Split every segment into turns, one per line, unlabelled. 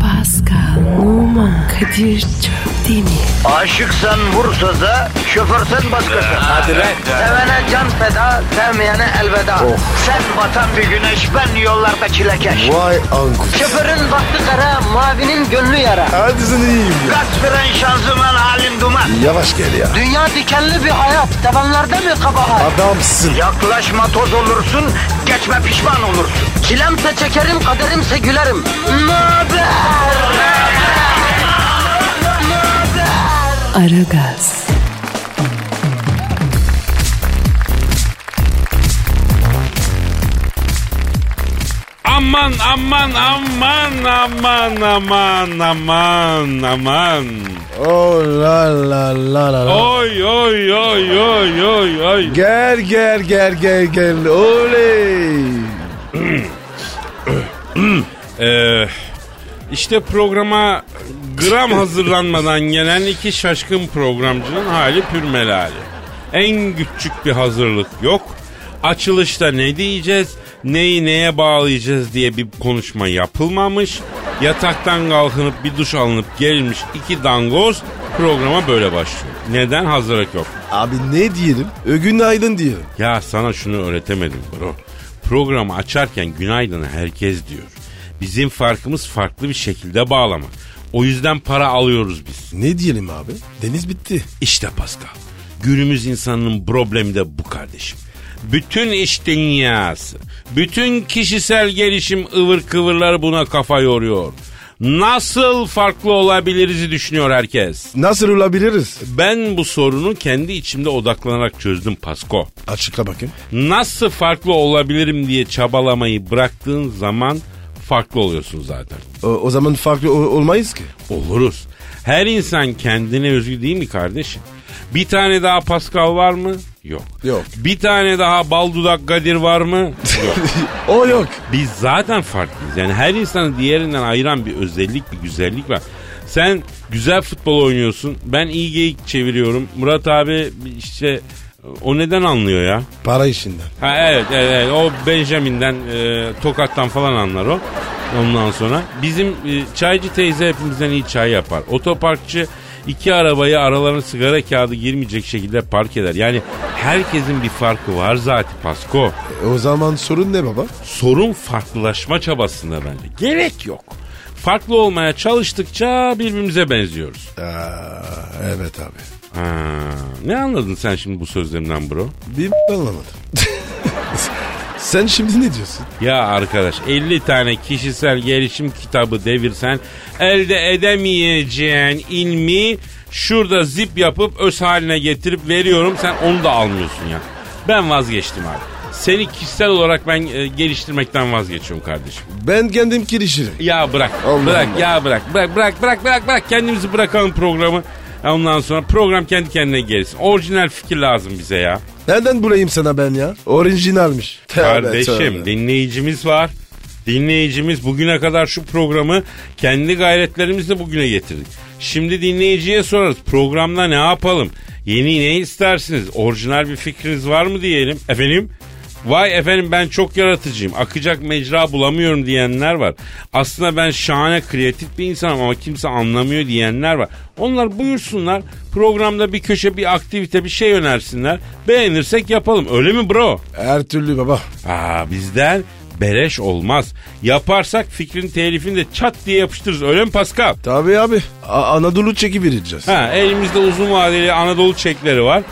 Pascal, Oman, Kadir çok değil mi?
Aşıksan vursa da şoförsen başkasın. Hadi
lan.
Sevene can feda, sevmeyene elveda. Sen batan bir güneş, ben yollarda çilekeş.
Vay anku.
Şoförün baktı kara, mavinin gönlü yara.
Hadi sen iyiyim ya.
Kasperen şanzıman halin duman.
Yavaş gel ya.
Dünya dikenli bir hayat, sevenlerde mi kabahar?
Adamsın.
Yaklaşma toz olursun, geçme pişman olursun. Çilemse çekerim, kaderimse gülerim. Möber!
Aragaz,
Aman aman aman aman aman aman aman.
Oh la la la la. la.
Oy oy oy oy oy oy.
Gel gel gel gel gel. Oley.
Ee, işte programa gram hazırlanmadan gelen iki şaşkın programcının hali pür melali. En küçük bir hazırlık yok. Açılışta ne diyeceğiz, neyi neye bağlayacağız diye bir konuşma yapılmamış. Yataktan kalkınıp bir duş alınıp gelmiş iki dangoz programa böyle başlıyor. Neden hazırlık yok?
Abi ne diyelim? Ö, Günaydın diyelim.
Ya sana şunu öğretemedim bro. Programı açarken günaydın herkes diyor. Bizim farkımız farklı bir şekilde bağlama. O yüzden para alıyoruz biz.
Ne diyelim abi? Deniz bitti.
İşte Pascal. Günümüz insanının problemi de bu kardeşim. Bütün iş dünyası, bütün kişisel gelişim ıvır kıvırları buna kafa yoruyor. Nasıl farklı olabiliriz düşünüyor herkes.
Nasıl olabiliriz?
Ben bu sorunu kendi içimde odaklanarak çözdüm Pasko.
Açıkla bakayım.
Nasıl farklı olabilirim diye çabalamayı bıraktığın zaman farklı oluyorsun zaten.
O, o zaman farklı ol- olmayız ki.
Oluruz. Her insan kendine özgü değil mi kardeşim? Bir tane daha Pascal var mı? Yok.
Yok.
Bir tane daha bal dudak Kadir var mı? Yok.
o yok.
Biz zaten farklıyız. Yani her insanı diğerinden ayıran bir özellik, bir güzellik var. Sen güzel futbol oynuyorsun. Ben iyi geyik çeviriyorum. Murat abi işte o neden anlıyor ya?
Para işinden.
Ha evet, evet, evet. o Benjamin'den e, Tokat'tan falan anlar o. Ondan sonra bizim e, çaycı teyze hepimizden iyi çay yapar. Otoparkçı iki arabayı aralarına sigara kağıdı girmeyecek şekilde park eder. Yani herkesin bir farkı var zaten Pasko.
E, o zaman sorun ne baba?
Sorun farklılaşma çabasında bence. Gerek yok. Farklı olmaya çalıştıkça birbirimize benziyoruz.
Aa, evet abi.
Ha, ne anladın sen şimdi bu sözlerimden bro?
Bir anlamadım. Sen şimdi ne diyorsun?
Ya arkadaş 50 tane kişisel gelişim kitabı devirsen elde edemeyeceğin ilmi şurada zip yapıp öz haline getirip veriyorum sen onu da almıyorsun ya. Ben vazgeçtim abi. Seni kişisel olarak ben e, geliştirmekten vazgeçiyorum kardeşim.
Ben kendim girişirim.
Ya bırak.
Allah
bırak
Allah.
ya bırak. Bırak bırak bırak bırak bırak kendimizi bırakalım programı. Ondan sonra program kendi kendine gelsin. Orijinal fikir lazım bize ya.
Nereden bulayım sana ben ya? Orijinalmiş. Tövbe,
Kardeşim
tövbe.
dinleyicimiz var. Dinleyicimiz bugüne kadar şu programı kendi gayretlerimizle bugüne getirdik. Şimdi dinleyiciye sorarız programda ne yapalım? Yeni ne istersiniz? Orijinal bir fikriniz var mı diyelim. Efendim? Vay efendim ben çok yaratıcıyım. Akacak mecra bulamıyorum diyenler var. Aslında ben şahane kreatif bir insanım ama kimse anlamıyor diyenler var. Onlar buyursunlar. Programda bir köşe bir aktivite bir şey önersinler. Beğenirsek yapalım. Öyle mi bro?
Her türlü baba.
Aa bizden beleş olmaz. Yaparsak fikrin telifini de çat diye yapıştırırız. Öyle mi Pascal?
Tabii abi. A- Anadolu çeki vereceğiz.
Ha, elimizde uzun vadeli Anadolu çekleri var.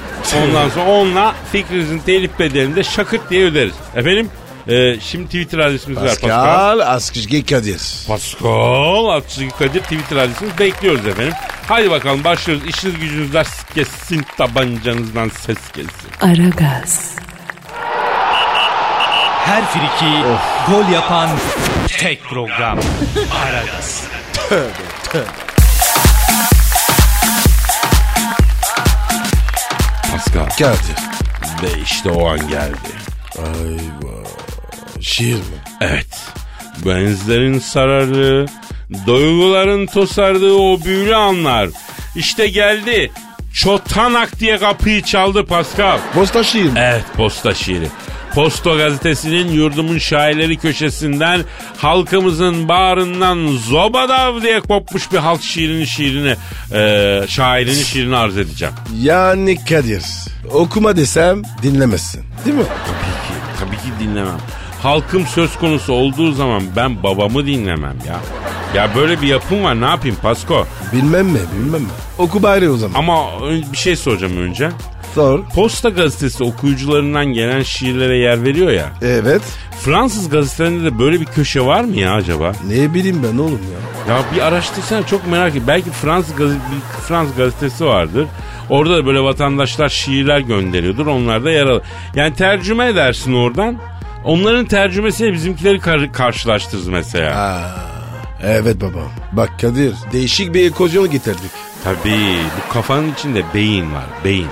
Ondan sonra onunla fikrinizin telif bedelini de şakırt diye öderiz. Efendim? e, şimdi Twitter adresimiz var Pascal.
Pascal Askışge Kadir.
Pascal Askışgi Kadir Twitter adresimiz bekliyoruz efendim. Haydi bakalım başlıyoruz. İşiniz gücünüz ders kessin tabancanızdan ses gelsin.
Aragaz,
Her friki gol yapan tek program. Aragaz.
Pascal
Kadir.
ve işte o an geldi.
Şiir mi?
Evet. Benizlerin sarardığı, duyguların tosardığı o büyülü anlar. İşte geldi. Çotanak diye kapıyı çaldı Pascal.
Posta şiir mi?
Evet posta şiiri. Posto gazetesinin yurdumun şairleri köşesinden halkımızın bağrından zobadav diye kopmuş bir halk şiirinin şiirini e, şairinin şiirini arz edeceğim.
Yani Kadir. Okuma desem dinlemezsin. Değil mi?
Tabii ki dinlemem. Halkım söz konusu olduğu zaman ben babamı dinlemem ya. Ya böyle bir yapım var ne yapayım Pasko?
Bilmem mi bilmem mi. Oku bari o zaman.
Ama ön- bir şey soracağım önce.
Sor.
Posta gazetesi okuyucularından gelen şiirlere yer veriyor ya.
Evet.
Fransız gazetelerinde de böyle bir köşe var mı ya acaba?
Ne bileyim ben oğlum ya.
Ya bir araştırsana çok merak ediyorum. Belki Fransız, gazete, bir Fransız gazetesi vardır. Orada da böyle vatandaşlar şiirler gönderiyordur. Onlar da yer alır. Yani tercüme edersin oradan. Onların tercümesiyle bizimkileri kar- karşılaştırırız mesela.
Evet babam. Bak Kadir değişik bir ekozyon getirdik.
Tabii bu kafanın içinde beyin var beyin.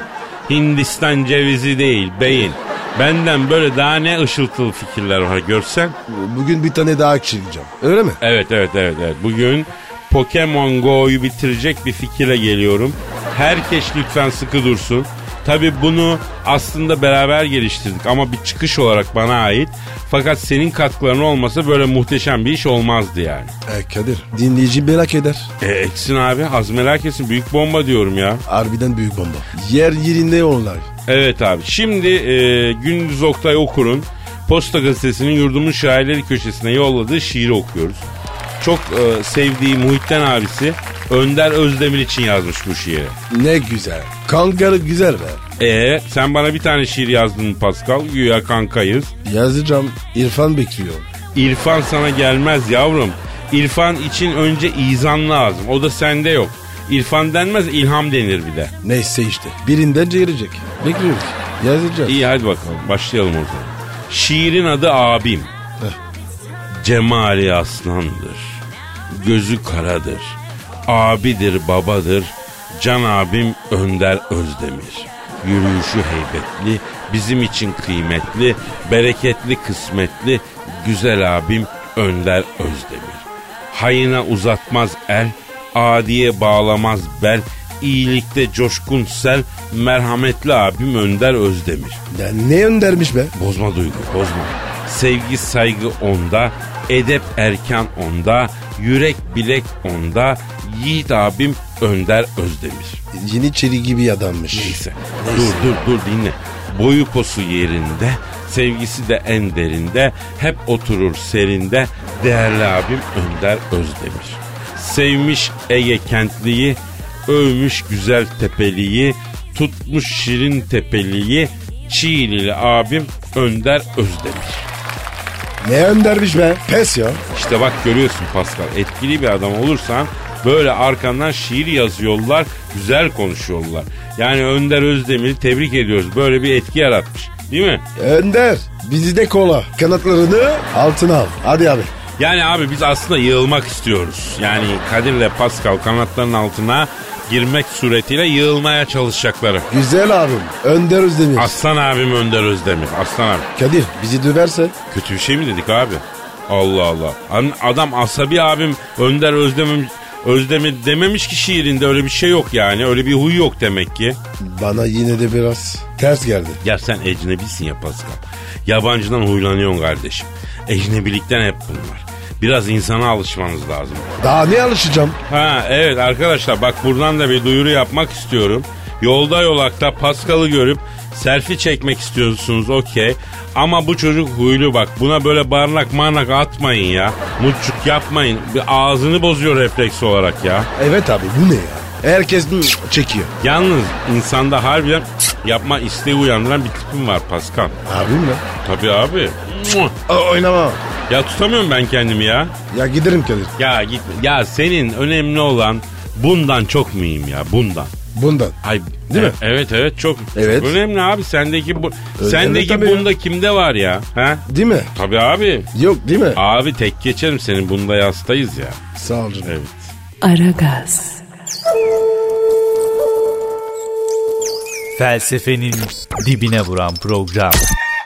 Hindistan cevizi değil beyin. Benden böyle daha ne ışıltılı fikirler var görsen.
Bugün bir tane daha çekeceğim. Öyle mi?
Evet evet evet evet. Bugün Pokemon Go'yu bitirecek bir fikirle geliyorum. Herkes lütfen sıkı dursun. Tabi bunu aslında beraber geliştirdik ama bir çıkış olarak bana ait. Fakat senin katkıların olmasa böyle muhteşem bir iş olmazdı yani.
E, Kadir dinleyici merak eder.
E, eksin abi hazmeler kesin büyük bomba diyorum ya.
Harbiden büyük bomba. Yer yerinde onlar.
Evet abi. Şimdi e, Gündüz Oktay Okur'un Posta Gazetesi'nin yurdumun şairleri köşesine yolladığı şiiri okuyoruz. Çok e, sevdiği Muhittin abisi Önder Özdemir için yazmış bu şiiri.
Ne güzel. Kangarı güzel be.
E sen bana bir tane şiir yazdın mı Pascal? Güya kankayız.
Yazacağım İrfan bekliyor.
İrfan sana gelmez yavrum. İrfan için önce izan lazım. O da sende yok. İrfan denmez ilham denir bir de.
Neyse işte. Birinden girecek. Bekliyoruz. Yazacağız.
İyi hadi bakalım başlayalım o zaman. Şiirin adı abim. Cemali aslandır. Gözü karadır. Abidir babadır. Can abim Önder Özdemir. Yürüyüşü heybetli, bizim için kıymetli, bereketli kısmetli, güzel abim Önder Özdemir. Hayına uzatmaz el, adiye bağlamaz bel, iyilikte coşkun sel, merhametli abim Önder Özdemir.
Ya ne öndermiş be?
Bozma duygu bozma. Sevgi saygı onda, edep erkan onda, yürek bilek onda, yiğit abim Önder Özdemir.
Yeniçeri gibi adammış.
Neyse. Dur dur dur dinle. Boyu posu yerinde, sevgisi de en derinde, hep oturur serinde, değerli abim Önder Özdemir. Sevmiş Ege kentliyi, övmüş güzel tepeliyi, tutmuş şirin tepeliyi, Çiğlili abim Önder Özdemir.
Ne öndermiş be? Pes ya.
İşte bak görüyorsun Pascal etkili bir adam olursan böyle arkandan şiir yazıyorlar, güzel konuşuyorlar. Yani Önder Özdemir'i tebrik ediyoruz. Böyle bir etki yaratmış. Değil mi?
Önder. Bizi de kola. Kanatlarını altına al. Hadi abi.
Yani abi biz aslında yığılmak istiyoruz. Yani Kadir'le Pascal kanatların altına girmek suretiyle yığılmaya çalışacakları.
Güzel abim. Önder Özdemir.
Aslan abim Önder Özdemir. Aslan abi.
Kadir bizi döverse
Kötü bir şey mi dedik abi? Allah Allah. An- Adam asabi abim Önder Özdemir, Özdemir dememiş ki şiirinde öyle bir şey yok yani. Öyle bir huy yok demek ki.
bana yine de biraz ters geldi.
Ya sen ecnebisin ya Pascal. Yabancıdan huylanıyorsun kardeşim. Ecnebilikten hep bunlar. Biraz insana alışmanız lazım.
Daha ne alışacağım?
Ha evet arkadaşlar bak buradan da bir duyuru yapmak istiyorum. Yolda yolakta Pascal'ı görüp selfie çekmek istiyorsunuz okey. Ama bu çocuk huylu bak buna böyle barnak marnak atmayın ya. Muçuk yapmayın. Bir ağzını bozuyor refleks olarak ya.
Evet abi bu ne ya? Herkes bu- çekiyor.
Yalnız insanda harbiden yapma isteği uyandıran bir tipim var Pascal.
Abim mi?
Tabii abi.
O- oynama.
Ya tutamıyorum ben kendimi ya.
Ya giderim Kadir.
Ya git. Ya senin önemli olan bundan çok mıyım ya bundan.
Bundan.
Ay
Değil
e-
mi?
Evet evet çok
Evet.
önemli abi sendeki bu
Önemli
sendeki
tabii ya.
bunda kimde var ya? Ha?
Değil mi?
Tabii abi.
Yok değil mi?
Abi tek geçerim senin bunda yastayız ya.
Sağ ol canım.
Evet.
Aragaz,
Felsefenin dibine vuran program.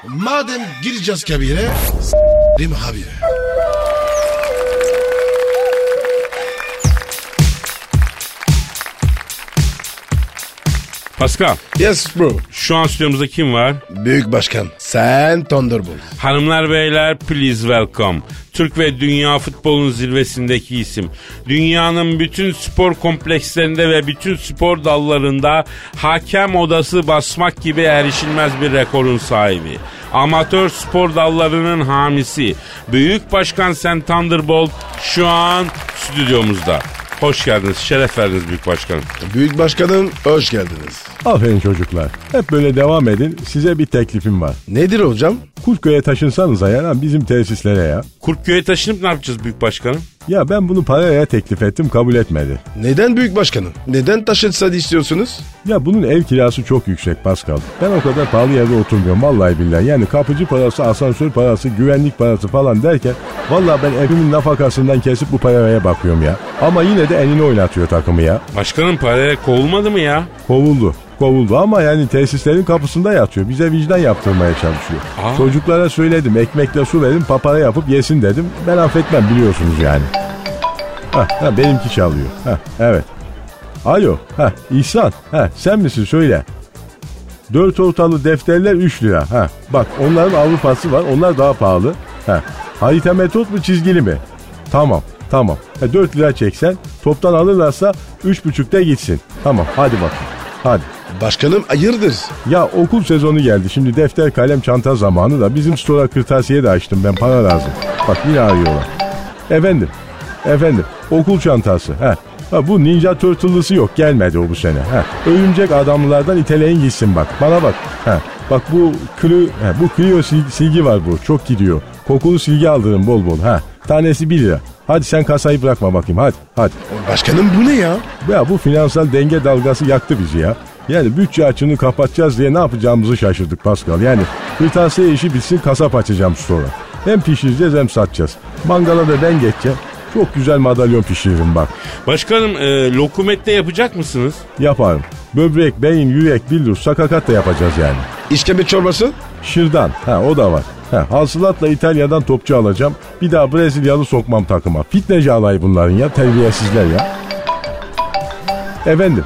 Madem gireceğiz kabire, s**rim abi.
Pascal
Yes bro.
şu an stüdyomuzda kim var?
Büyük başkan. Sen Thunderbolt.
Hanımlar beyler please welcome. Türk ve dünya futbolun zirvesindeki isim. Dünyanın bütün spor komplekslerinde ve bütün spor dallarında hakem odası basmak gibi erişilmez bir rekorun sahibi. Amatör spor dallarının hamisi. Büyük Başkan Sen Thunderbolt şu an stüdyomuzda. Hoş geldiniz, şeref verdiniz Büyük Başkanım.
Büyük başkanım hoş geldiniz.
Aferin çocuklar. Hep böyle devam edin. Size bir teklifim var.
Nedir hocam?
Kurtköy'e taşınsanıza ya lan bizim tesislere ya.
Kurtköy'e taşınıp ne yapacağız Büyük Başkanım?
Ya ben bunu paraya teklif ettim kabul etmedi.
Neden büyük başkanım? Neden taşınsa istiyorsunuz?
Ya bunun ev kirası çok yüksek Pascal. Ben o kadar pahalı yerde oturmuyorum vallahi billahi. Yani kapıcı parası, asansör parası, güvenlik parası falan derken vallahi ben evimin nafakasından kesip bu paraya bakıyorum ya. Ama yine de elini oynatıyor takımı ya.
Başkanım paraya kovulmadı mı ya?
Kovuldu. Kovuldu ama yani tesislerin kapısında yatıyor. Bize vicdan yaptırmaya çalışıyor.
Aa.
Çocuklara söyledim ekmekle su verin papara yapıp yesin dedim. Ben affetmem biliyorsunuz yani. Ha, ha benimki çalıyor. Ha, evet. Alo. Ha, İhsan. Ha, sen misin söyle. Dört ortalı defterler 3 lira. Ha, bak onların Avrupası var. Onlar daha pahalı. Ha, harita metot mu çizgili mi? Tamam. Tamam. Ha, 4 lira çeksen toptan alırlarsa üç buçukta gitsin. Tamam hadi bakayım. Hadi.
Başkanım hayırdır?
Ya okul sezonu geldi. Şimdi defter kalem çanta zamanı da bizim stora kırtasiye de açtım ben para lazım. Bak yine arıyorlar. Efendim. Efendim. Okul çantası. Ha. Ha bu Ninja Turtle'lısı yok gelmedi o bu sene. Ha. Örümcek adamlılardan iteleyin gitsin bak. Bana bak. Ha. Bak bu kli, ha, bu Clio sil- silgi var bu. Çok gidiyor. Kokulu silgi aldırın bol bol. Ha. Tanesi 1 lira. Hadi sen kasayı bırakma bakayım. Hadi. Hadi.
Başkanım bu ne ya?
Ya bu finansal denge dalgası yaktı bizi ya. Yani bütçe açığını kapatacağız diye ne yapacağımızı şaşırdık Pascal. Yani kırtasiye işi bitsin kasap açacağım sonra. Hem pişireceğiz hem satacağız. Mangala da ben geçeceğim. Çok güzel madalyon pişiririm bak.
Başkanım e, lokumette yapacak mısınız?
Yaparım. Böbrek, beyin, yürek, billur, sakakat da yapacağız yani.
İşkembe çorbası?
Şırdan. Ha o da var. Ha, hasılatla İtalya'dan topçu alacağım. Bir daha Brezilyalı sokmam takıma. Fitneci alay bunların ya. Terbiyesizler ya. Efendim.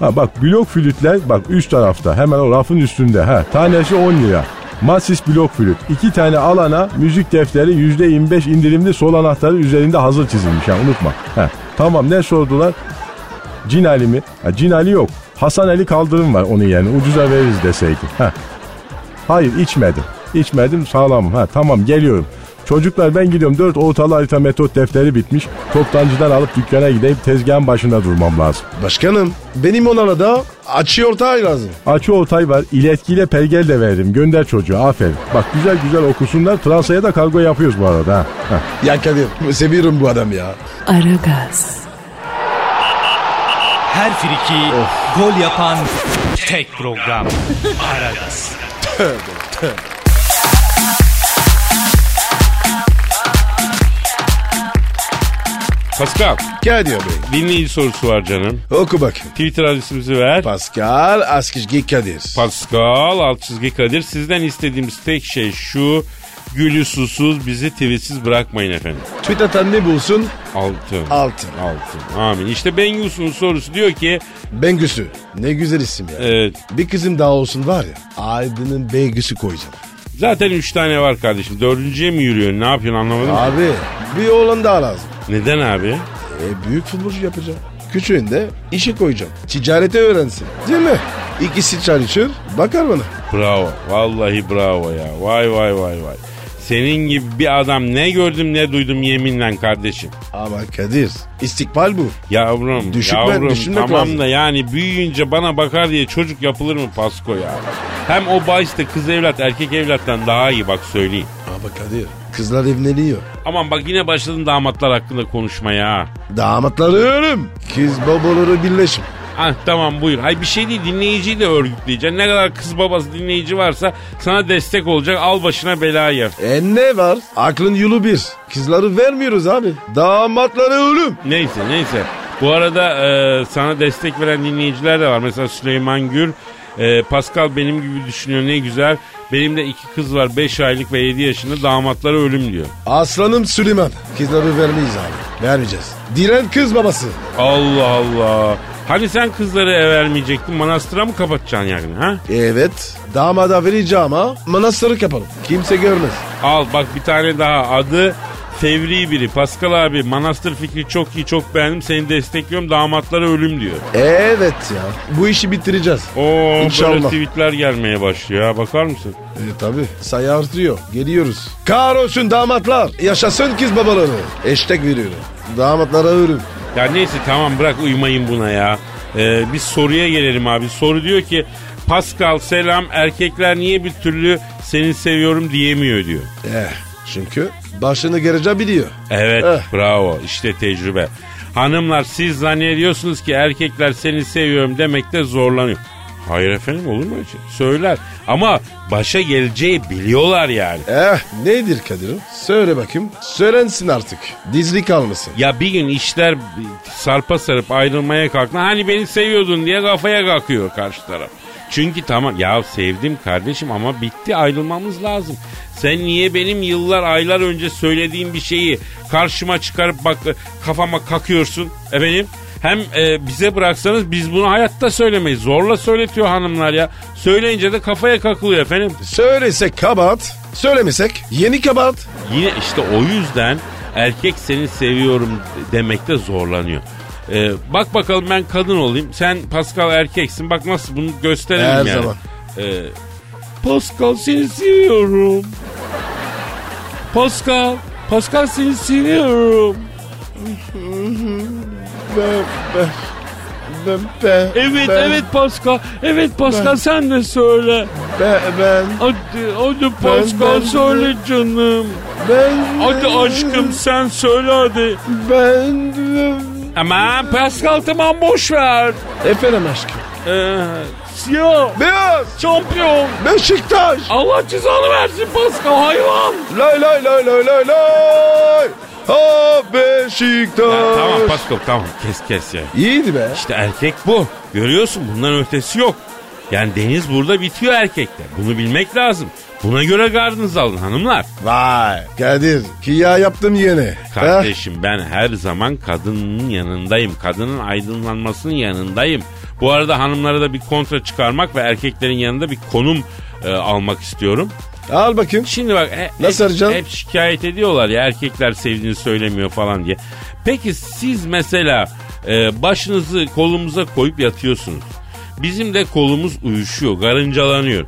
Ha bak blok flütler bak üst tarafta hemen o rafın üstünde. Ha tanesi 10 lira. Masis blok flüt. İki tane alana müzik defteri %25 indirimli sol anahtarı üzerinde hazır çizilmiş. Ha unutma. Ha tamam ne sordular? Cin Ali mi? Ha, Cin Ali yok. Hasan Ali kaldırım var onun yani. Ucuza veririz deseydi. Ha Hayır içmedim. İçmedim sağlamım. Ha tamam geliyorum. Çocuklar ben gidiyorum. Dört ortalı harita metot defteri bitmiş. Toptancıdan alıp dükkana gideyim tezgahın başında durmam lazım.
Başkanım benim onlara da açıyor ortağı lazım.
Açı ortay var. İletkiyle pergel de verdim. Gönder çocuğu aferin. Bak güzel güzel okusunlar. Fransa'ya da kargo yapıyoruz bu arada. Ha. Ha.
Ya Kadir seviyorum bu adam ya.
Aragaz,
Her friki gol yapan tek program. Aragaz.
Pascal
Kadir Bey
dinleyici sorusu var canım.
oku bakayım.
Twitter adresimizi ver.
Pascal Askizgi Kadir.
Pascal alt çizgi Kadir. Sizden istediğimiz tek şey şu. Gülü susuz bizi tweetsiz bırakmayın efendim.
Tweet atan ne bulsun?
Altın.
Altın.
Altın. Amin. İşte Bengüs'ün sorusu diyor ki
Bengüsü. Ne güzel isim ya.
e,
Bir kızım daha olsun var ya. Aydın'ın Bengüsü koyacağım.
zaten üç tane var kardeşim. Dördüncüye mi yürüyorsun? Ne yapıyorsun anlamadım.
Abi bir oğlan daha lazım.
Neden abi?
E, büyük futbolcu yapacağım. Küçüğünde işe koyacağım. Ticareti öğrensin. Değil mi? İkisi çalışır. Bakar bana.
Bravo. Vallahi bravo ya. Vay vay vay vay. Senin gibi bir adam ne gördüm ne duydum yeminle kardeşim.
Ama Kadir istikbal bu.
Yavrum,
Düşünme-
yavrum
düşünmek
tamam
lazım.
da yani büyüyünce bana bakar diye çocuk yapılır mı Pasko ya? Hem o bahiste kız evlat erkek evlattan daha iyi bak söyleyeyim.
Ama Kadir kızlar evleniyor.
Aman bak yine başladın damatlar hakkında konuşmaya ha.
Damatları ölüm. Kız babaları birleşim.
Ah tamam buyur. Ay bir şey değil dinleyiciyi de örgütleyeceksin. Ne kadar kız babası dinleyici varsa sana destek olacak. Al başına belayı.
E ne var? Aklın yolu bir. Kızları vermiyoruz abi. Damatları ölüm.
Neyse neyse. Bu arada e, sana destek veren dinleyiciler de var. Mesela Süleyman Gür. e, Pascal benim gibi düşünüyor ne güzel. Benim de iki kız var 5 aylık ve 7 yaşında damatları ölüm diyor.
Aslanım Süleyman. Kızları vermeyiz abi. Vermeyeceğiz. Diren kız babası.
Allah Allah. Hani sen kızları ev vermeyecektin manastıra mı kapatacaksın yani ha?
Evet. Damada vereceğim ha. Manastırı kapalım. Kimse görmez.
Al bak bir tane daha adı Fevri biri. Pascal abi manastır fikri çok iyi çok beğendim seni destekliyorum damatlara ölüm diyor.
Evet ya. Bu işi bitireceğiz.
Oo böyle
İnşallah.
tweetler gelmeye başlıyor ha bakar mısın?
E, tabii. Sayı artıyor. Geliyoruz. Kahrolsun damatlar. Yaşasın kız babaları. Eştek veriyorum. Damatlara ölüm.
Ya neyse tamam bırak uymayın buna ya. Ee, bir soruya gelelim abi. Soru diyor ki Pascal selam erkekler niye bir türlü seni seviyorum diyemiyor diyor.
Eh, çünkü başını gerece biliyor.
Evet
Eh.
bravo işte tecrübe. Hanımlar siz zannediyorsunuz ki erkekler seni seviyorum demekte zorlanıyor. Hayır efendim olur mu öyle şey? Söyler ama başa geleceği biliyorlar yani.
Eh nedir Kadir'im? Söyle bakayım. Söylensin artık. Dizli kalmasın.
Ya bir gün işler sarpa sarıp ayrılmaya kalktı. Hani beni seviyordun diye kafaya kalkıyor karşı taraf. Çünkü tamam ya sevdim kardeşim ama bitti ayrılmamız lazım. Sen niye benim yıllar aylar önce söylediğim bir şeyi karşıma çıkarıp bak kafama kakıyorsun efendim? Hem e, bize bıraksanız biz bunu hayatta söylemeyiz. Zorla söyletiyor hanımlar ya. Söyleyince de kafaya kakılıyor efendim.
Söylesek kabahat, söylemesek yeni kabahat.
Yine işte o yüzden erkek seni seviyorum demekte zorlanıyor. Ee, bak bakalım ben kadın olayım. Sen Pascal erkeksin. Bak nasıl bunu gösterelim
Her
yani.
zaman.
Ee, Pascal seni seviyorum. Pascal. Pascal seni seviyorum.
Be, be, be, be,
Evet
ben-
evet Pascal. Evet Pascal sen de söyle.
be, ben,
Hadi hadi Pascal
ben-
söyle canım.
ben,
Hadi aşkım sen söyle hadi.
ben,
Aman Pascal tamam boş ver.
Efendim aşkım.
Ee, siyah
Beyaz,
şampiyon.
Beşiktaş,
Allah cezanı versin Pascal hayvan.
lay lay lay lay lay lay. Ha Beşiktaş.
tamam Pascal tamam kes kes ya.
İyiydi be.
İşte erkek bu. Görüyorsun bundan ötesi yok. Yani deniz burada bitiyor erkekte. Bunu bilmek lazım. Buna göre gardınızı alın hanımlar.
Vay. Kadir, kiya yaptım yine.
Kardeşim ben her zaman kadının yanındayım. Kadının aydınlanmasının yanındayım. Bu arada hanımlara da bir kontra çıkarmak ve erkeklerin yanında bir konum e, almak istiyorum.
Ha, Eh, Al bakayım.
Şimdi bak he-
Nasıl
hep,
Ercan?
hep şikayet ediyorlar ya erkekler sevdiğini söylemiyor falan diye. Peki siz mesela e, başınızı kolumuza koyup yatıyorsunuz. Bizim de kolumuz uyuşuyor, garıncalanıyor.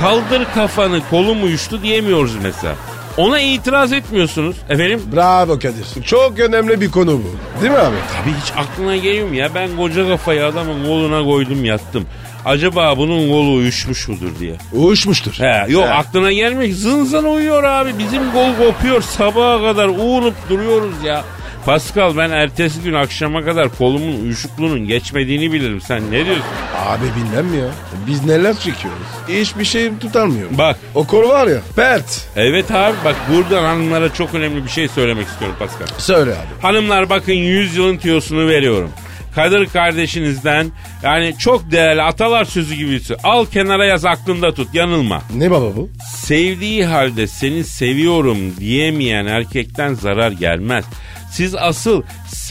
Kaldır kafanı kolum uyuştu diyemiyoruz mesela. Ona itiraz etmiyorsunuz. Efendim
Bravo Kadir. Çok önemli bir konu bu. Değil mi abi?
Abi hiç aklına geliyor mu ya? Ben koca kafayı adamın koluna koydum yattım. Acaba bunun kolu uyuşmuş mudur diye.
Uğuşmuştur.
He, yok aklına gelmek zın zın uyuyor abi. Bizim gol kopuyor sabaha kadar uğurup duruyoruz ya. Pascal ben ertesi gün akşama kadar kolumun uyuşukluğunun geçmediğini bilirim. Sen ne diyorsun?
Abi bilmem ya. Biz neler çekiyoruz. Hiçbir şey tutamıyor.
Bak
O kol var ya. Pert.
evet abi bak buradan hanımlara çok önemli bir şey söylemek istiyorum Pascal.
Söyle abi.
Hanımlar bakın 100 yılın tiyosunu veriyorum. Kadir kardeşinizden yani çok değerli atalar sözü gibi bir söz. Al kenara yaz aklında tut yanılma.
Ne baba bu?
Sevdiği halde seni seviyorum diyemeyen erkekten zarar gelmez. Siz asıl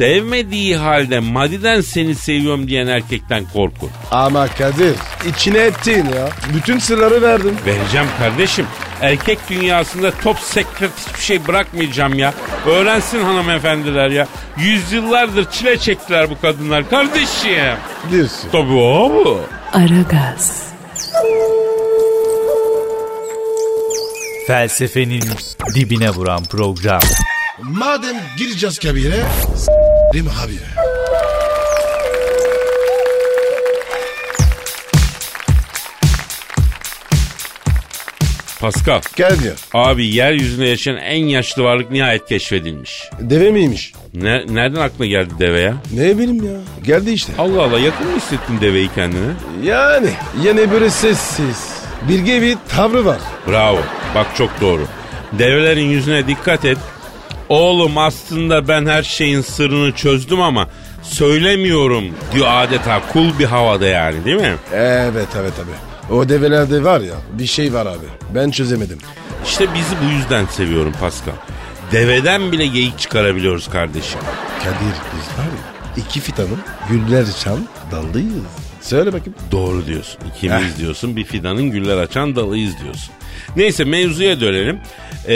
sevmediği halde madiden seni seviyorum diyen erkekten korkun.
Ama Kadir içine ettin ya. Bütün sırları verdim.
Vereceğim kardeşim. Erkek dünyasında top sekret hiçbir şey bırakmayacağım ya. Öğrensin hanımefendiler ya. Yüzyıllardır çile çektiler bu kadınlar kardeşim.
Diyorsun.
Tabii o bu.
Aragaz,
Felsefenin dibine vuran program.
Madem gireceğiz kabire. Değil mi abi?
Pascal
Kadir.
abi yeryüzünde yaşayan en yaşlı varlık nihayet keşfedilmiş.
Deve miymiş?
Ne, nereden aklına geldi deve ya?
Ne bileyim ya. Geldi işte.
Allah Allah yakın mı hissettin deveyi kendine?
Yani yine böyle sessiz. Bilge bir tavrı var.
Bravo. Bak çok doğru. Develerin yüzüne dikkat et. Oğlum aslında ben her şeyin sırrını çözdüm ama söylemiyorum diyor adeta kul bir havada yani değil mi?
Evet evet abi. O develerde var ya bir şey var abi. Ben çözemedim.
İşte bizi bu yüzden seviyorum Pascal. Deveden bile geyik çıkarabiliyoruz kardeşim.
Kadir biz var ya iki fitanın güller çan dalıyız. Söyle bakayım.
Doğru diyorsun. İkimiz diyorsun. Bir fidanın güller açan dalıyız diyorsun. Neyse mevzuya dönelim. Ee,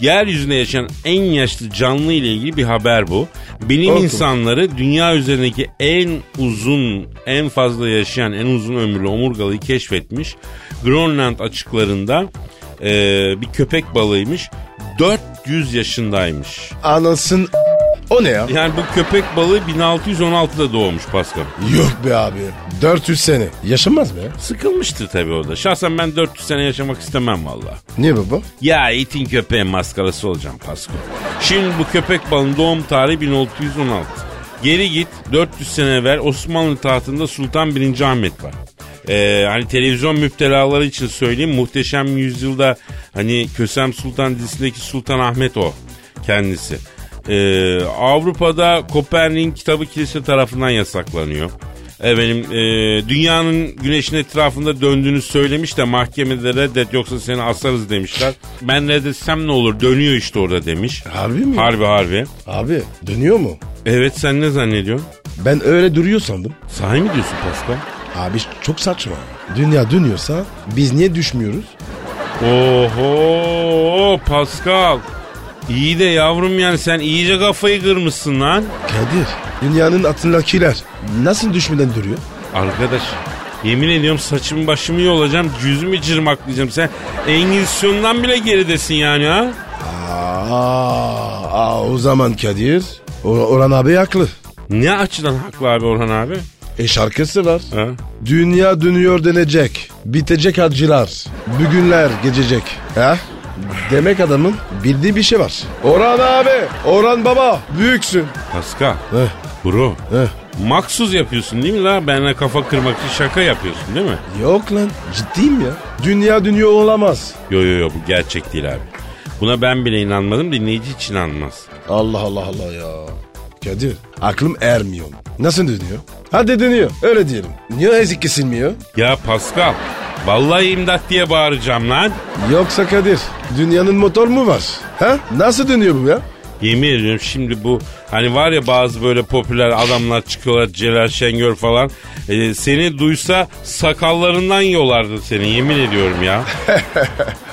yeryüzünde yaşayan en yaşlı canlı ile ilgili bir haber bu. Bilim
Korkma.
insanları dünya üzerindeki en uzun, en fazla yaşayan, en uzun ömürlü omurgalıyı keşfetmiş. Grönland açıklarında ee, bir köpek balığıymış. 400 yaşındaymış.
Anasın o ne ya?
Yani bu köpek balığı 1616'da doğmuş Pascal.
Yok be abi. 400 sene. Yaşanmaz mı ya?
Sıkılmıştır tabii o da. Şahsen ben 400 sene yaşamak istemem valla.
Niye baba?
Ya itin köpeğin maskarası olacağım Pasko. Şimdi bu köpek balığının doğum tarihi 1616. Geri git 400 sene evvel Osmanlı tahtında Sultan 1. Ahmet var. Ee, hani televizyon müptelaları için söyleyeyim muhteşem yüzyılda hani Kösem Sultan dizisindeki Sultan Ahmet o kendisi. Ee, Avrupa'da Kopernik'in kitabı kilise tarafından yasaklanıyor. Efendim e, dünyanın güneşin etrafında döndüğünü söylemiş de mahkemede reddet yoksa seni asarız demişler. Ben reddetsem ne olur dönüyor işte orada demiş.
Harbi mi?
Harbi harbi.
Abi dönüyor mu?
Evet sen ne zannediyorsun?
Ben öyle duruyor sandım.
Sahi mi diyorsun Pascal?
Abi çok saçma. Dünya dönüyorsa biz niye düşmüyoruz?
Oho Pascal. İyi de yavrum yani sen iyice kafayı kırmışsın lan.
Kadir dünyanın atındakiler nasıl düşmeden duruyor?
Arkadaş yemin ediyorum saçımı başımı yolacağım yüzümü cırmaklayacağım. Sen Engizisyon'dan bile geridesin yani ha.
Aa, aa, o zaman Kadir Or- Orhan abi haklı.
Ne açıdan haklı abi Orhan abi?
E şarkısı var.
Ha?
Dünya dönüyor denecek. Bitecek acılar. Bugünler geçecek. Ha? Demek adamın bildiği bir şey var. Orhan abi, Orhan baba büyüksün.
Pascal.
Heh,
Bro.
heh.
Maksuz yapıyorsun değil mi la? Benle kafa kırmak için şaka yapıyorsun değil mi?
Yok lan ciddiyim ya. Dünya dünya olamaz.
Yo yo yo bu gerçek değil abi. Buna ben bile inanmadım dinleyici hiç inanmaz.
Allah Allah Allah ya. Kadir aklım ermiyor. Nasıl dönüyor? Hadi dönüyor öyle diyelim. Niye ezik kesilmiyor?
Ya Pascal. Vallahi imdat diye bağıracağım lan.
Yoksa Kadir dünyanın motor mu var? Ha? Nasıl dönüyor bu ya?
Yemin ediyorum şimdi bu hani var ya bazı böyle popüler adamlar çıkıyorlar Celal Şengör falan. Ee, seni duysa sakallarından yolardı seni yemin ediyorum ya.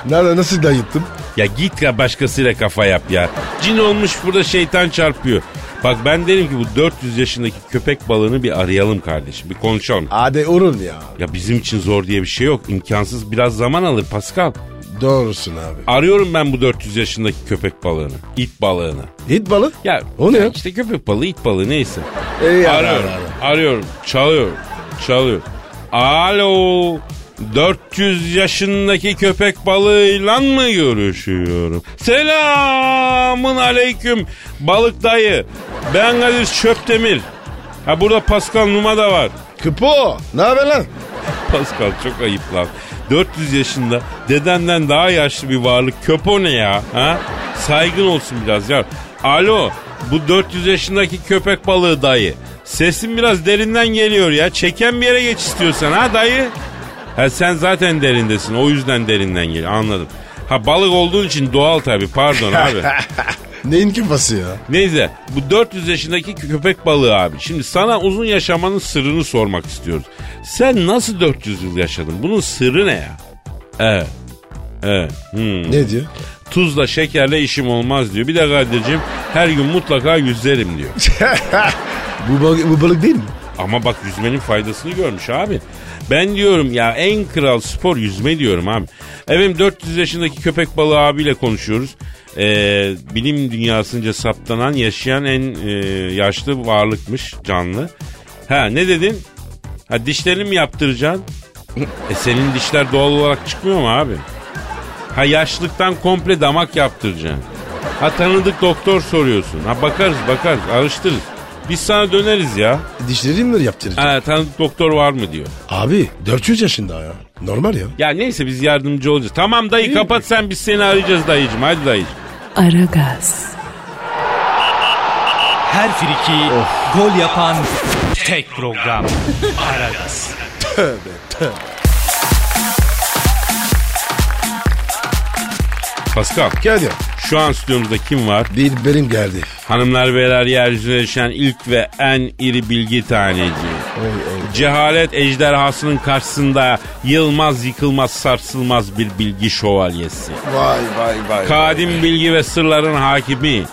Nerede nasıl dayıttım?
Ya git ya başkasıyla kafa yap ya. Cin olmuş burada şeytan çarpıyor. Bak ben derim ki bu 400 yaşındaki köpek balığını bir arayalım kardeşim. Bir konuşalım.
Hadi urun ya.
Ya bizim için zor diye bir şey yok. İmkansız biraz zaman alır Pascal.
Doğrusun abi.
Arıyorum ben bu 400 yaşındaki köpek balığını. it balığını.
Hit balı.
Ya
O ne ya?
İşte köpek balığı, it balığı neyse.
İyi abi,
arıyorum,
abi.
arıyorum, çalıyorum, çalıyorum. Alo, 400 yaşındaki köpek balığıyla mı görüşüyorum? Selamın aleyküm balık dayı. Ben Kadir Çöptemir. Ha burada Pascal Numa da var.
Kıpo. Ne haber lan?
Pascal çok ayıp lan. 400 yaşında dedenden daha yaşlı bir varlık köpo ne ya? Ha? Saygın olsun biraz ya. Alo bu 400 yaşındaki köpek balığı dayı. Sesin biraz derinden geliyor ya. Çeken bir yere geç istiyorsan ha dayı. Ha sen zaten derindesin o yüzden derinden geliyor anladım. Ha balık olduğun için doğal tabii pardon abi.
Neyin kıpası ya?
Neyse bu 400 yaşındaki köpek balığı abi. Şimdi sana uzun yaşamanın sırrını sormak istiyoruz. Sen nasıl 400 yıl yaşadın? Bunun sırrı ne ya? Evet. Evet. Hmm.
Ne diyor?
Tuzla şekerle işim olmaz diyor. Bir de kardeşim her gün mutlaka yüzerim diyor.
bu, balık, bu balık değil mi?
Ama bak yüzmenin faydasını görmüş abi. Ben diyorum ya en kral spor yüzme diyorum abi. Efendim 400 yaşındaki köpek balığı abiyle konuşuyoruz. Ee, bilim dünyasınca saptanan yaşayan en e, yaşlı varlıkmış canlı. Ha ne dedin? Ha dişlerini mi yaptıracaksın? E senin dişler doğal olarak çıkmıyor mu abi? Ha yaşlıktan komple damak yaptıracaksın. Ha tanıdık doktor soruyorsun. Ha bakarız bakarız araştırırız. Biz sana döneriz ya.
Dişlerini mi yaptıracak?
Ha, tanıdık doktor var mı diyor.
Abi 400 yaşında ya. Normal ya.
Ya neyse biz yardımcı olacağız. Tamam dayı kapat sen biz seni arayacağız dayıcım. Hadi dayıcım.
Aragaz,
Her friki gol yapan tek program. Aragaz.
Pascal
Kadir.
Şu an stüdyomuzda kim var?
Bir benim geldi.
Hanımlar beyler yeryüzüne düşen ilk ve en iri bilgi taneci. Cehalet ejderhasının karşısında yılmaz yıkılmaz sarsılmaz bir bilgi şövalyesi.
Vay vay vay.
Kadim bilgi ve sırların hakimi.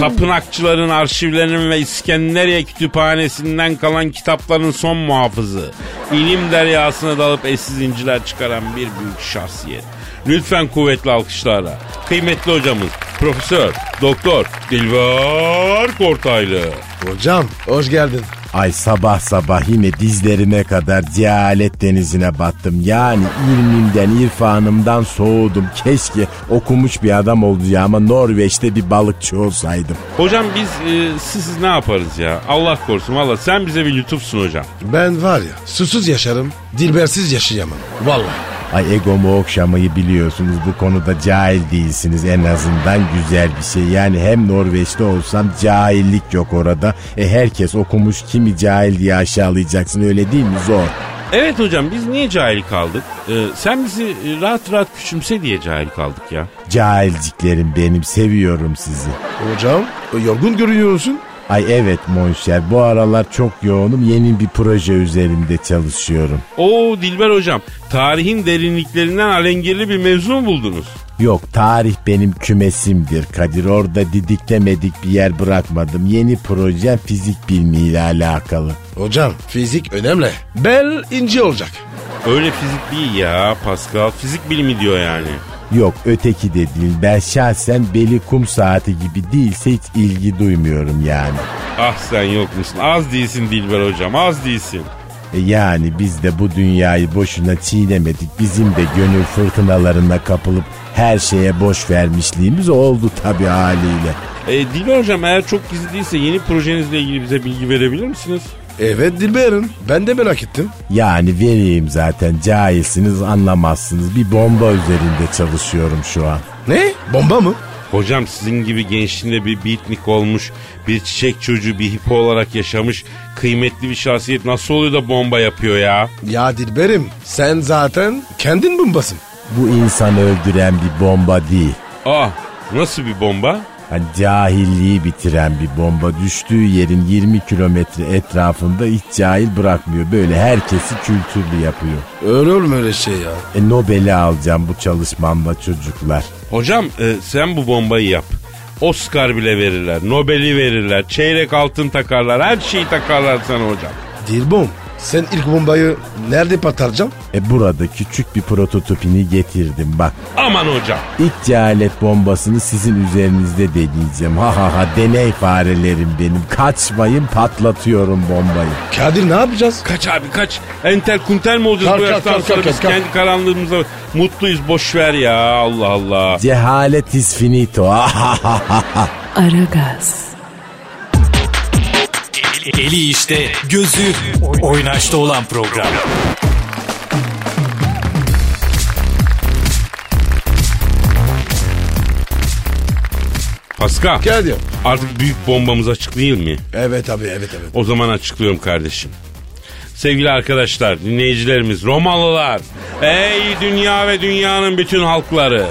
Tapınakçıların arşivlerinin ve İskenderiye kütüphanesinden kalan kitapların son muhafızı. İlim deryasına dalıp eşsiz inciler çıkaran bir büyük şahsiyet. Lütfen kuvvetli alkışlarla. Kıymetli hocamız Profesör Doktor Dilber Kortaylı.
Hocam hoş geldin.
Ay sabah sabah yine dizlerime kadar cehalet denizine battım. Yani ilmimden, irfanımdan soğudum. Keşke okumuş bir adam olacağıma Norveç'te bir balıkçı olsaydım.
Hocam biz e, sizsiz ne yaparız ya? Allah korusun valla sen bize bir lütufsun hocam.
Ben var ya susuz yaşarım, dilbersiz yaşayamam. Vallahi.
Ay egomu okşamayı biliyorsunuz. Bu konuda cahil değilsiniz. En azından güzel bir şey. Yani hem Norveç'te olsam cahillik yok orada. E herkes okumuş kimi cahil diye aşağılayacaksın öyle değil mi? Zor.
Evet hocam biz niye cahil kaldık? E, sen bizi e, rahat rahat küçümse diye cahil kaldık ya.
Cahilciklerim benim seviyorum sizi.
Hocam e, yorgun görünüyorsun.
Ay evet Monşer bu aralar çok yoğunum yeni bir proje üzerinde çalışıyorum.
Oo Dilber hocam tarihin derinliklerinden alengirli bir mevzu mu buldunuz?
Yok tarih benim kümesimdir Kadir orada didiklemedik bir yer bırakmadım. Yeni projem fizik bilimiyle alakalı.
Hocam fizik önemli. Bel ince olacak.
Öyle fizik değil ya Pascal. Fizik bilimi diyor yani.
Yok öteki de değil ben şahsen beli kum saati gibi değilse hiç ilgi duymuyorum yani.
Ah sen yok musun? Az değilsin Dilber hocam az değilsin.
E Yani biz de bu dünyayı boşuna çiğnemedik. Bizim de gönül fırtınalarına kapılıp her şeye boş vermişliğimiz oldu tabii haliyle.
E, Dilber hocam eğer çok gizli değilse yeni projenizle ilgili bize bilgi verebilir misiniz?
Evet Dilber'im. Ben de merak ettim.
Yani vereyim zaten cahilsiniz anlamazsınız. Bir bomba üzerinde çalışıyorum şu an.
Ne? Bomba mı?
Hocam sizin gibi gençliğinde bir beatnik olmuş, bir çiçek çocuğu, bir hippo olarak yaşamış kıymetli bir şahsiyet nasıl oluyor da bomba yapıyor ya?
Ya Dilber'im sen zaten kendin bombasın.
Bu insanı öldüren bir bomba değil.
Ah nasıl bir bomba?
Hani cahilliği bitiren bir bomba düştüğü yerin 20 kilometre etrafında hiç cahil bırakmıyor. Böyle herkesi kültürlü yapıyor.
Öyle olur mu öyle şey ya?
E Nobel'i alacağım bu çalışmamla çocuklar.
Hocam e, sen bu bombayı yap. Oscar bile verirler, Nobel'i verirler, çeyrek altın takarlar, her şeyi takarlar sana hocam.
Dilbom sen ilk bombayı nerede pataracaksın?
E burada küçük bir prototipini getirdim bak.
Aman hocam.
İlk cehalet bombasını sizin üzerinizde deneyeceğim. Ha ha ha deney farelerim benim. Kaçmayın patlatıyorum bombayı.
Kadir ne yapacağız?
Kaç abi kaç. Entel kuntel mi
Kalk,
olacağız bu
kalk,
yaştan
kalk,
sonra
kalk,
biz
kalk.
kendi karanlığımızda mutluyuz boş ver ya Allah Allah.
Cehalet is finito. Ha ha ha ha.
Aragaz,
Eli işte, gözü oynaşta olan program.
Pascal
Kadir.
artık büyük bombamız açık değil mi?
Evet abi evet evet.
O zaman açıklıyorum kardeşim. Sevgili arkadaşlar, dinleyicilerimiz, Romalılar, ey dünya ve dünyanın bütün halkları.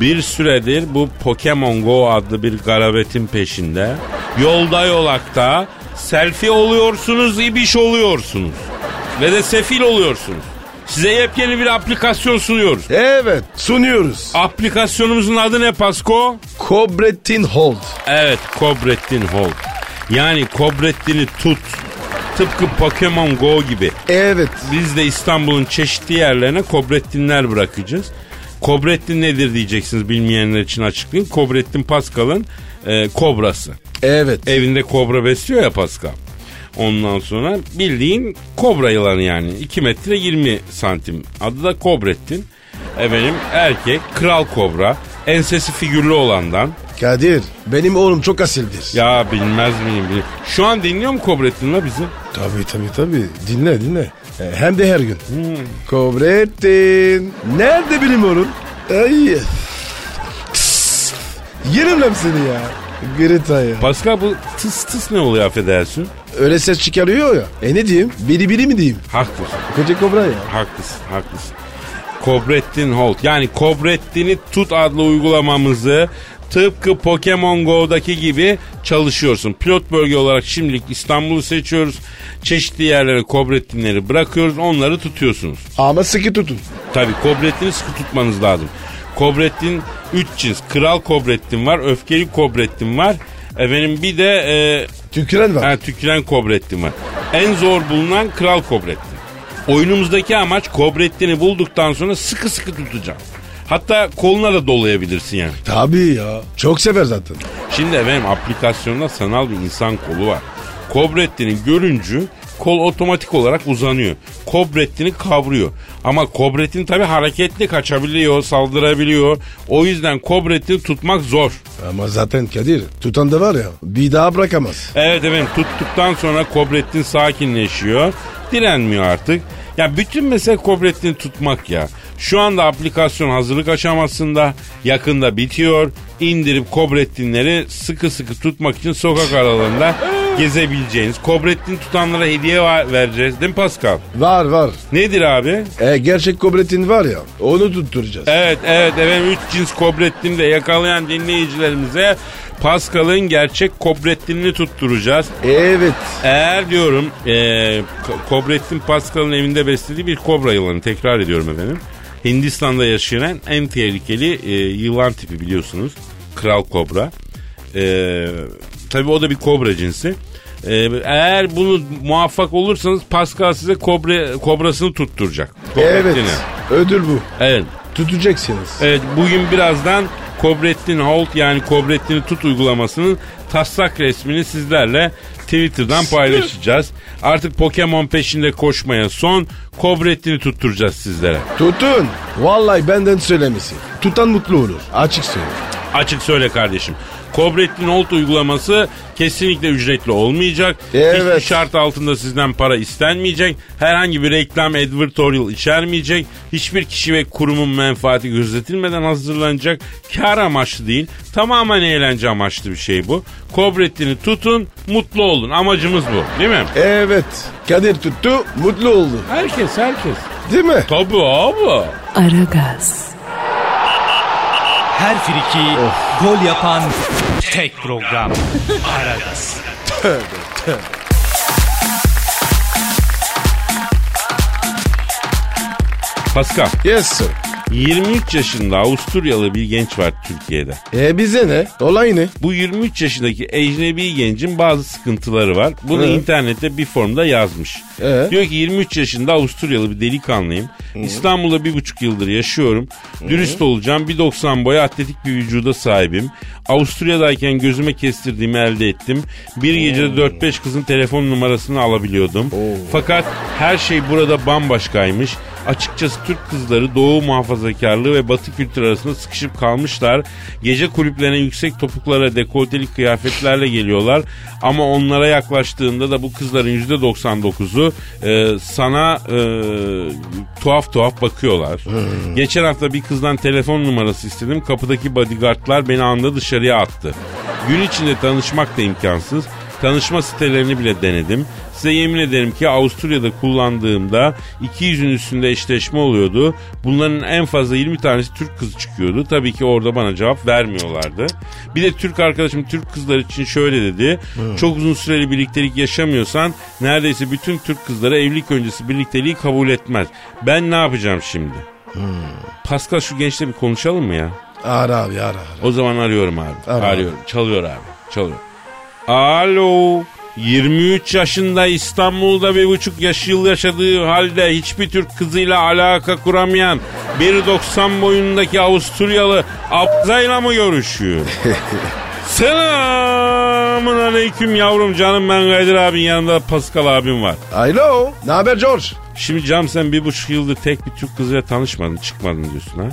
Bir süredir bu Pokemon Go adlı bir garabetin peşinde, yolda yolakta selfie oluyorsunuz, ibiş oluyorsunuz ve de sefil oluyorsunuz. Size yepyeni bir aplikasyon sunuyoruz.
Evet sunuyoruz.
Aplikasyonumuzun adı ne Pasko?
Kobretin Hold.
Evet Kobrettin Hold. Yani Kobrettin'i tut. Tıpkı Pokemon Go gibi.
Evet.
Biz de İstanbul'un çeşitli yerlerine Kobrettinler bırakacağız. Kobrettin nedir diyeceksiniz bilmeyenler için açıklayayım. Kobrettin Pascal'ın e, kobrası.
Evet.
Evinde kobra besliyor ya Pascal. Ondan sonra bildiğin kobra yılanı yani. 2 metre 20 santim. Adı da Kobrettin. Efendim erkek, kral kobra. Ensesi figürlü olandan.
Kadir benim oğlum çok asildir.
Ya bilmez miyim? Bil- Şu an dinliyor mu Kobrettin la bizi?
Tabii tabii tabii. Dinle dinle. E, Hem de her gün. Kobrettin. Nerede benim oğlum? Ay. Tıs. Yerim lan seni ya. Greta ya.
Pascal bu tıs tıs ne oluyor affedersin?
Öyle ses çıkarıyor ya. E ne diyeyim? Biri biri mi diyeyim?
Haklısın,
Koca kobra ya.
haklısın, haklısın. Kobrettin Holt yani Kobrettin'i tut adlı uygulamamızı Tıpkı Pokemon Go'daki gibi çalışıyorsun. Pilot bölge olarak şimdilik İstanbul'u seçiyoruz. Çeşitli yerlere kobretinleri bırakıyoruz. Onları tutuyorsunuz.
Ama sıkı tutun.
Tabii kobretini sıkı tutmanız lazım. Kobrettin 3 cins. Kral kobrettin var. Öfkeli kobrettin var. Efendim bir de e,
Tüküren var.
Ha, tüküren kobrettin var. En zor bulunan kral kobrettin. Oyunumuzdaki amaç kobrettini bulduktan sonra sıkı sıkı tutacaksın. Hatta koluna da dolayabilirsin yani.
Tabii ya. Çok sever zaten.
Şimdi efendim aplikasyonda sanal bir insan kolu var. Kobrettin'i görüncü kol otomatik olarak uzanıyor. Kobrettin'i kavruyor. Ama Kobrettin tabi hareketli kaçabiliyor, saldırabiliyor. O yüzden Kobrettin'i tutmak zor.
Ama zaten Kadir tutan da var ya bir daha bırakamaz.
Evet efendim tuttuktan sonra Kobrettin sakinleşiyor. Direnmiyor artık. Ya bütün mesele Kobrettin'i tutmak ya. Şu anda aplikasyon hazırlık aşamasında. Yakında bitiyor. İndirip Kobrettinleri sıkı sıkı tutmak için sokak aralarında gezebileceğiniz. Kobrettin tutanlara hediye va- vereceğiz değil mi Pascal?
Var var.
Nedir abi?
E, gerçek kobretin var ya onu tutturacağız.
Evet evet efendim 3 cins Kobrettin'i de yakalayan dinleyicilerimize Pascal'ın gerçek Kobrettin'ini tutturacağız.
Evet.
Eğer diyorum e, Ko- Kobrettin Pascal'ın evinde beslediği bir kobra yılanı tekrar ediyorum efendim. Hindistan'da yaşayan en tehlikeli e, yılan tipi biliyorsunuz. Kral kobra. E, tabii o da bir kobra cinsi. E, eğer bunu muvaffak olursanız Pascal size kobra, kobrasını tutturacak.
Evet.
Kobrettin'i.
Ödül bu.
Evet.
Tutacaksınız.
Evet bugün birazdan Kobrettin Hold yani Kobrettin'i tut uygulamasının taslak resmini sizlerle Twitter'dan paylaşacağız. Artık Pokemon peşinde koşmaya son Kobrettin'i tutturacağız sizlere.
Tutun. Vallahi benden söylemesi. Tutan mutlu olur. Açık söyle.
Açık söyle kardeşim. Kobrettin Hold uygulaması kesinlikle ücretli olmayacak.
Evet.
Hiçbir şart altında sizden para istenmeyecek. Herhangi bir reklam advertorial içermeyecek. Hiçbir kişi ve kurumun menfaati gözetilmeden hazırlanacak. Kar amaçlı değil. Tamamen eğlence amaçlı bir şey bu. Kobrettin'i tutun, mutlu olun. Amacımız bu değil mi?
Evet. Kadir tuttu mutlu oldu.
Herkes, herkes.
Değil mi?
Tabii abi.
Aragaz,
Her friki gol yapan tek program. Aragaz.
Pascal,
Yes sir.
23 yaşında Avusturyalı bir genç var Türkiye'de.
E bize ne? Olay ne?
Bu 23 yaşındaki ecnebi gencin bazı sıkıntıları var. Bunu
Ee?
internette bir formda yazmış.
Ee?
Diyor ki 23 yaşında Avusturyalı bir delikanlıyım. İstanbul'da bir buçuk yıldır yaşıyorum. Dürüst olacağım. 1.90 boya atletik bir vücuda sahibim. Avusturya'dayken gözüme kestirdiğimi elde ettim. Bir gecede 4-5 kızın telefon numarasını alabiliyordum. Fakat her şey burada bambaşkaymış. Açıkçası Türk kızları doğu muhafazakarlığı ve batı kültürü arasında sıkışıp kalmışlar. Gece kulüplerine yüksek topuklara dekolteli kıyafetlerle geliyorlar. Ama onlara yaklaştığında da bu kızların %99'u e, sana e, tuhaf tuhaf bakıyorlar. Geçen hafta bir kızdan telefon numarası istedim. Kapıdaki bodyguardlar beni anda dışarıya attı. Gün içinde tanışmak da imkansız. Tanışma sitelerini bile denedim. Size yemin ederim ki Avusturya'da kullandığımda 200'ün üstünde eşleşme oluyordu. Bunların en fazla 20 tanesi Türk kızı çıkıyordu. Tabii ki orada bana cevap vermiyorlardı. Bir de Türk arkadaşım Türk kızlar için şöyle dedi. Çok uzun süreli birliktelik yaşamıyorsan neredeyse bütün Türk kızları evlilik öncesi birlikteliği kabul etmez. Ben ne yapacağım şimdi? Pascal şu gençle bir konuşalım mı ya?
Ara abi ara ara.
O zaman arıyorum abi.
Ara.
Arıyorum. Çalıyor abi. Çalıyor. Alo. 23 yaşında İstanbul'da bir buçuk yaş yıl yaşadığı halde hiçbir Türk kızıyla alaka kuramayan 1.90 boyundaki Avusturyalı Abzayla mı görüşüyor? Selamun aleyküm yavrum canım ben Kadir abin yanında Pascal abim var.
Alo. Ne haber George?
Şimdi Cam sen bir buçuk yıldır tek bir Türk kızla tanışmadın çıkmadın diyorsun ha.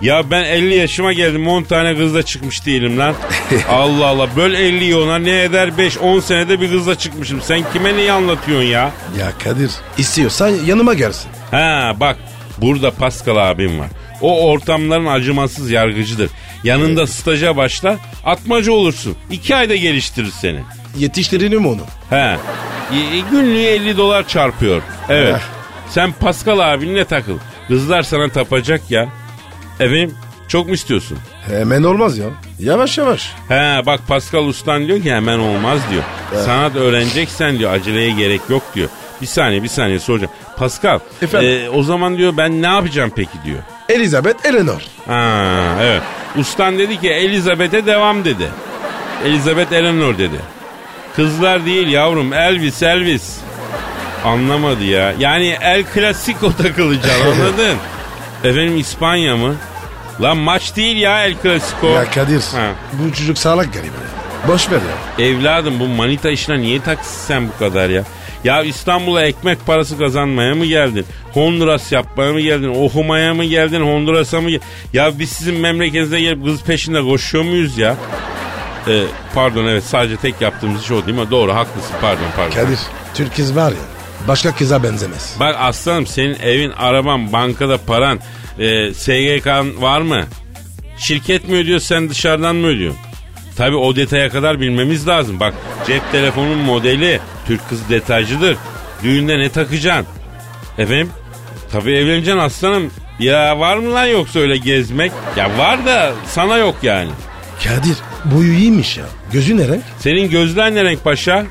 Ya ben 50 yaşıma geldim 10 tane kızla çıkmış değilim lan. Allah Allah böl 50'yi ona ne eder 5-10 senede bir kızla çıkmışım. Sen kime neyi anlatıyorsun ya?
Ya Kadir istiyorsan yanıma gelsin.
Ha bak burada Pascal abim var. O ortamların acımasız yargıcıdır. Yanında staja başla atmaca olursun. 2 ayda geliştirir seni.
Yetiştirelim onu.
He. Y- e, Günlüğü 50 dolar çarpıyor. Evet.
Heh.
Sen Pascal abinle takıl. Kızlar sana tapacak ya. Efendim çok mu istiyorsun?
Hemen olmaz ya. Yavaş yavaş.
He bak Pascal Ustan diyor ki hemen olmaz diyor. Sanat öğreneceksen diyor aceleye gerek yok diyor. Bir saniye bir saniye soracağım. Pascal
Efendim?
e, o zaman diyor ben ne yapacağım peki diyor.
Elizabeth Eleanor.
Ha evet. Ustan dedi ki Elizabeth'e devam dedi. Elizabeth Eleanor dedi. Kızlar değil yavrum Elvis Elvis. Anlamadı ya. Yani El Clasico takılacaksın anladın? Efendim İspanya mı? Lan maç değil ya El Clasico.
Ya Kadir
Ha.
bu çocuk sağlak garibi. Boş ver ya.
Evladım bu manita işine niye taksın sen bu kadar ya? Ya İstanbul'a ekmek parası kazanmaya mı geldin? Honduras yapmaya mı geldin? Okumaya mı geldin? Honduras'a mı gel- Ya biz sizin memleketinize gelip kız peşinde koşuyor muyuz ya? Ee, pardon evet sadece tek yaptığımız iş o değil mi? Doğru haklısın pardon pardon.
Kadir Türk kız var ya başka kıza benzemez.
Bak aslanım senin evin, araban, bankada paran, e, SGK'n var mı? Şirket mi ödüyor sen dışarıdan mı ödüyorsun? Tabi o detaya kadar bilmemiz lazım. Bak cep telefonun modeli Türk kızı detaycıdır. Düğünde ne takacaksın? Efendim? Tabi evleneceksin aslanım. Ya var mı lan yoksa öyle gezmek? Ya var da sana yok yani.
Kadir boyu iyiymiş ya. Gözü nere?
Senin gözler ne renk paşa?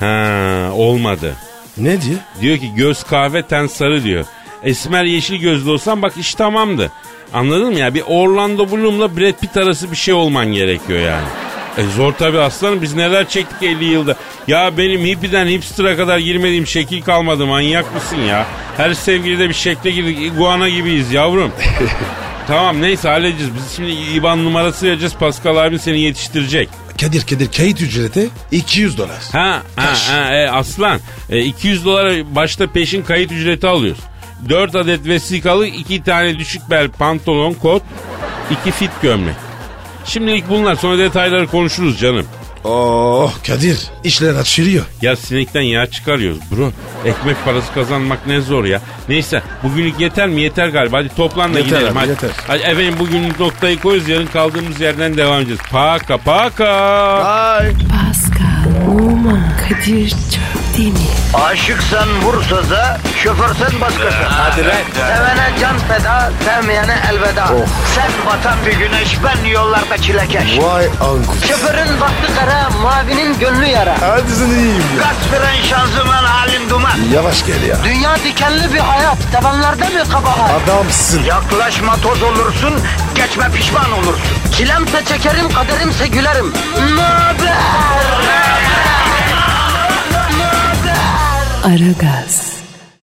Ha olmadı.
Ne diye?
Diyor ki göz kahve ten sarı diyor. Esmer yeşil gözlü olsan bak iş tamamdı. Anladın mı ya? Bir Orlando Bloom'la Brad Pitt arası bir şey olman gerekiyor yani. E zor tabi aslanım biz neler çektik 50 yılda. Ya benim hippiden hipster'a kadar girmediğim şekil kalmadı manyak mısın ya? Her sevgilide bir şekle girdik iguana gibiyiz yavrum. tamam neyse halledeceğiz. Biz şimdi IBAN numarası vereceğiz Pascal abi seni yetiştirecek.
Kadir Kadir kayıt ücreti 200 dolar.
Ha, ha, ha e, aslan. E, 200 dolara başta peşin kayıt ücreti alıyoruz. 4 adet vesikalı, 2 tane düşük bel pantolon, kot, 2 fit gömlek. Şimdilik bunlar sonra detayları konuşuruz canım.
Oh Kadir işler açılıyor.
Ya sinekten yağ çıkarıyoruz bro. Ekmek parası kazanmak ne zor ya. Neyse bugünlük yeter mi? Yeter galiba. Hadi toplan da
Yeter
gidelim.
abi,
hadi.
yeter.
hadi. Efendim bugünlük noktayı koyuz. Yarın kaldığımız yerden devam edeceğiz. Paka paka.
Bye.
Pascal, Oman, Kadir çok değil mi?
Aşıksan vursa da, şoförsen başkasın. Hadi Sevene can feda, sevmeyene elveda. Sen batan bir güneş, ben yollarda çilekeş.
Vay anku.
Şoförün baktı kara, mavinin gönlü yara.
Hadi sen iyiyim ya.
Kasperen şanzıman halin duman.
Yavaş gel ya.
Dünya dikenli bir hayat, sevenlerde mi kabahar?
Adamsın.
Yaklaşma toz olursun, geçme pişman olursun. Çilemse çekerim, kaderimse gülerim. Möber!
Aragaz.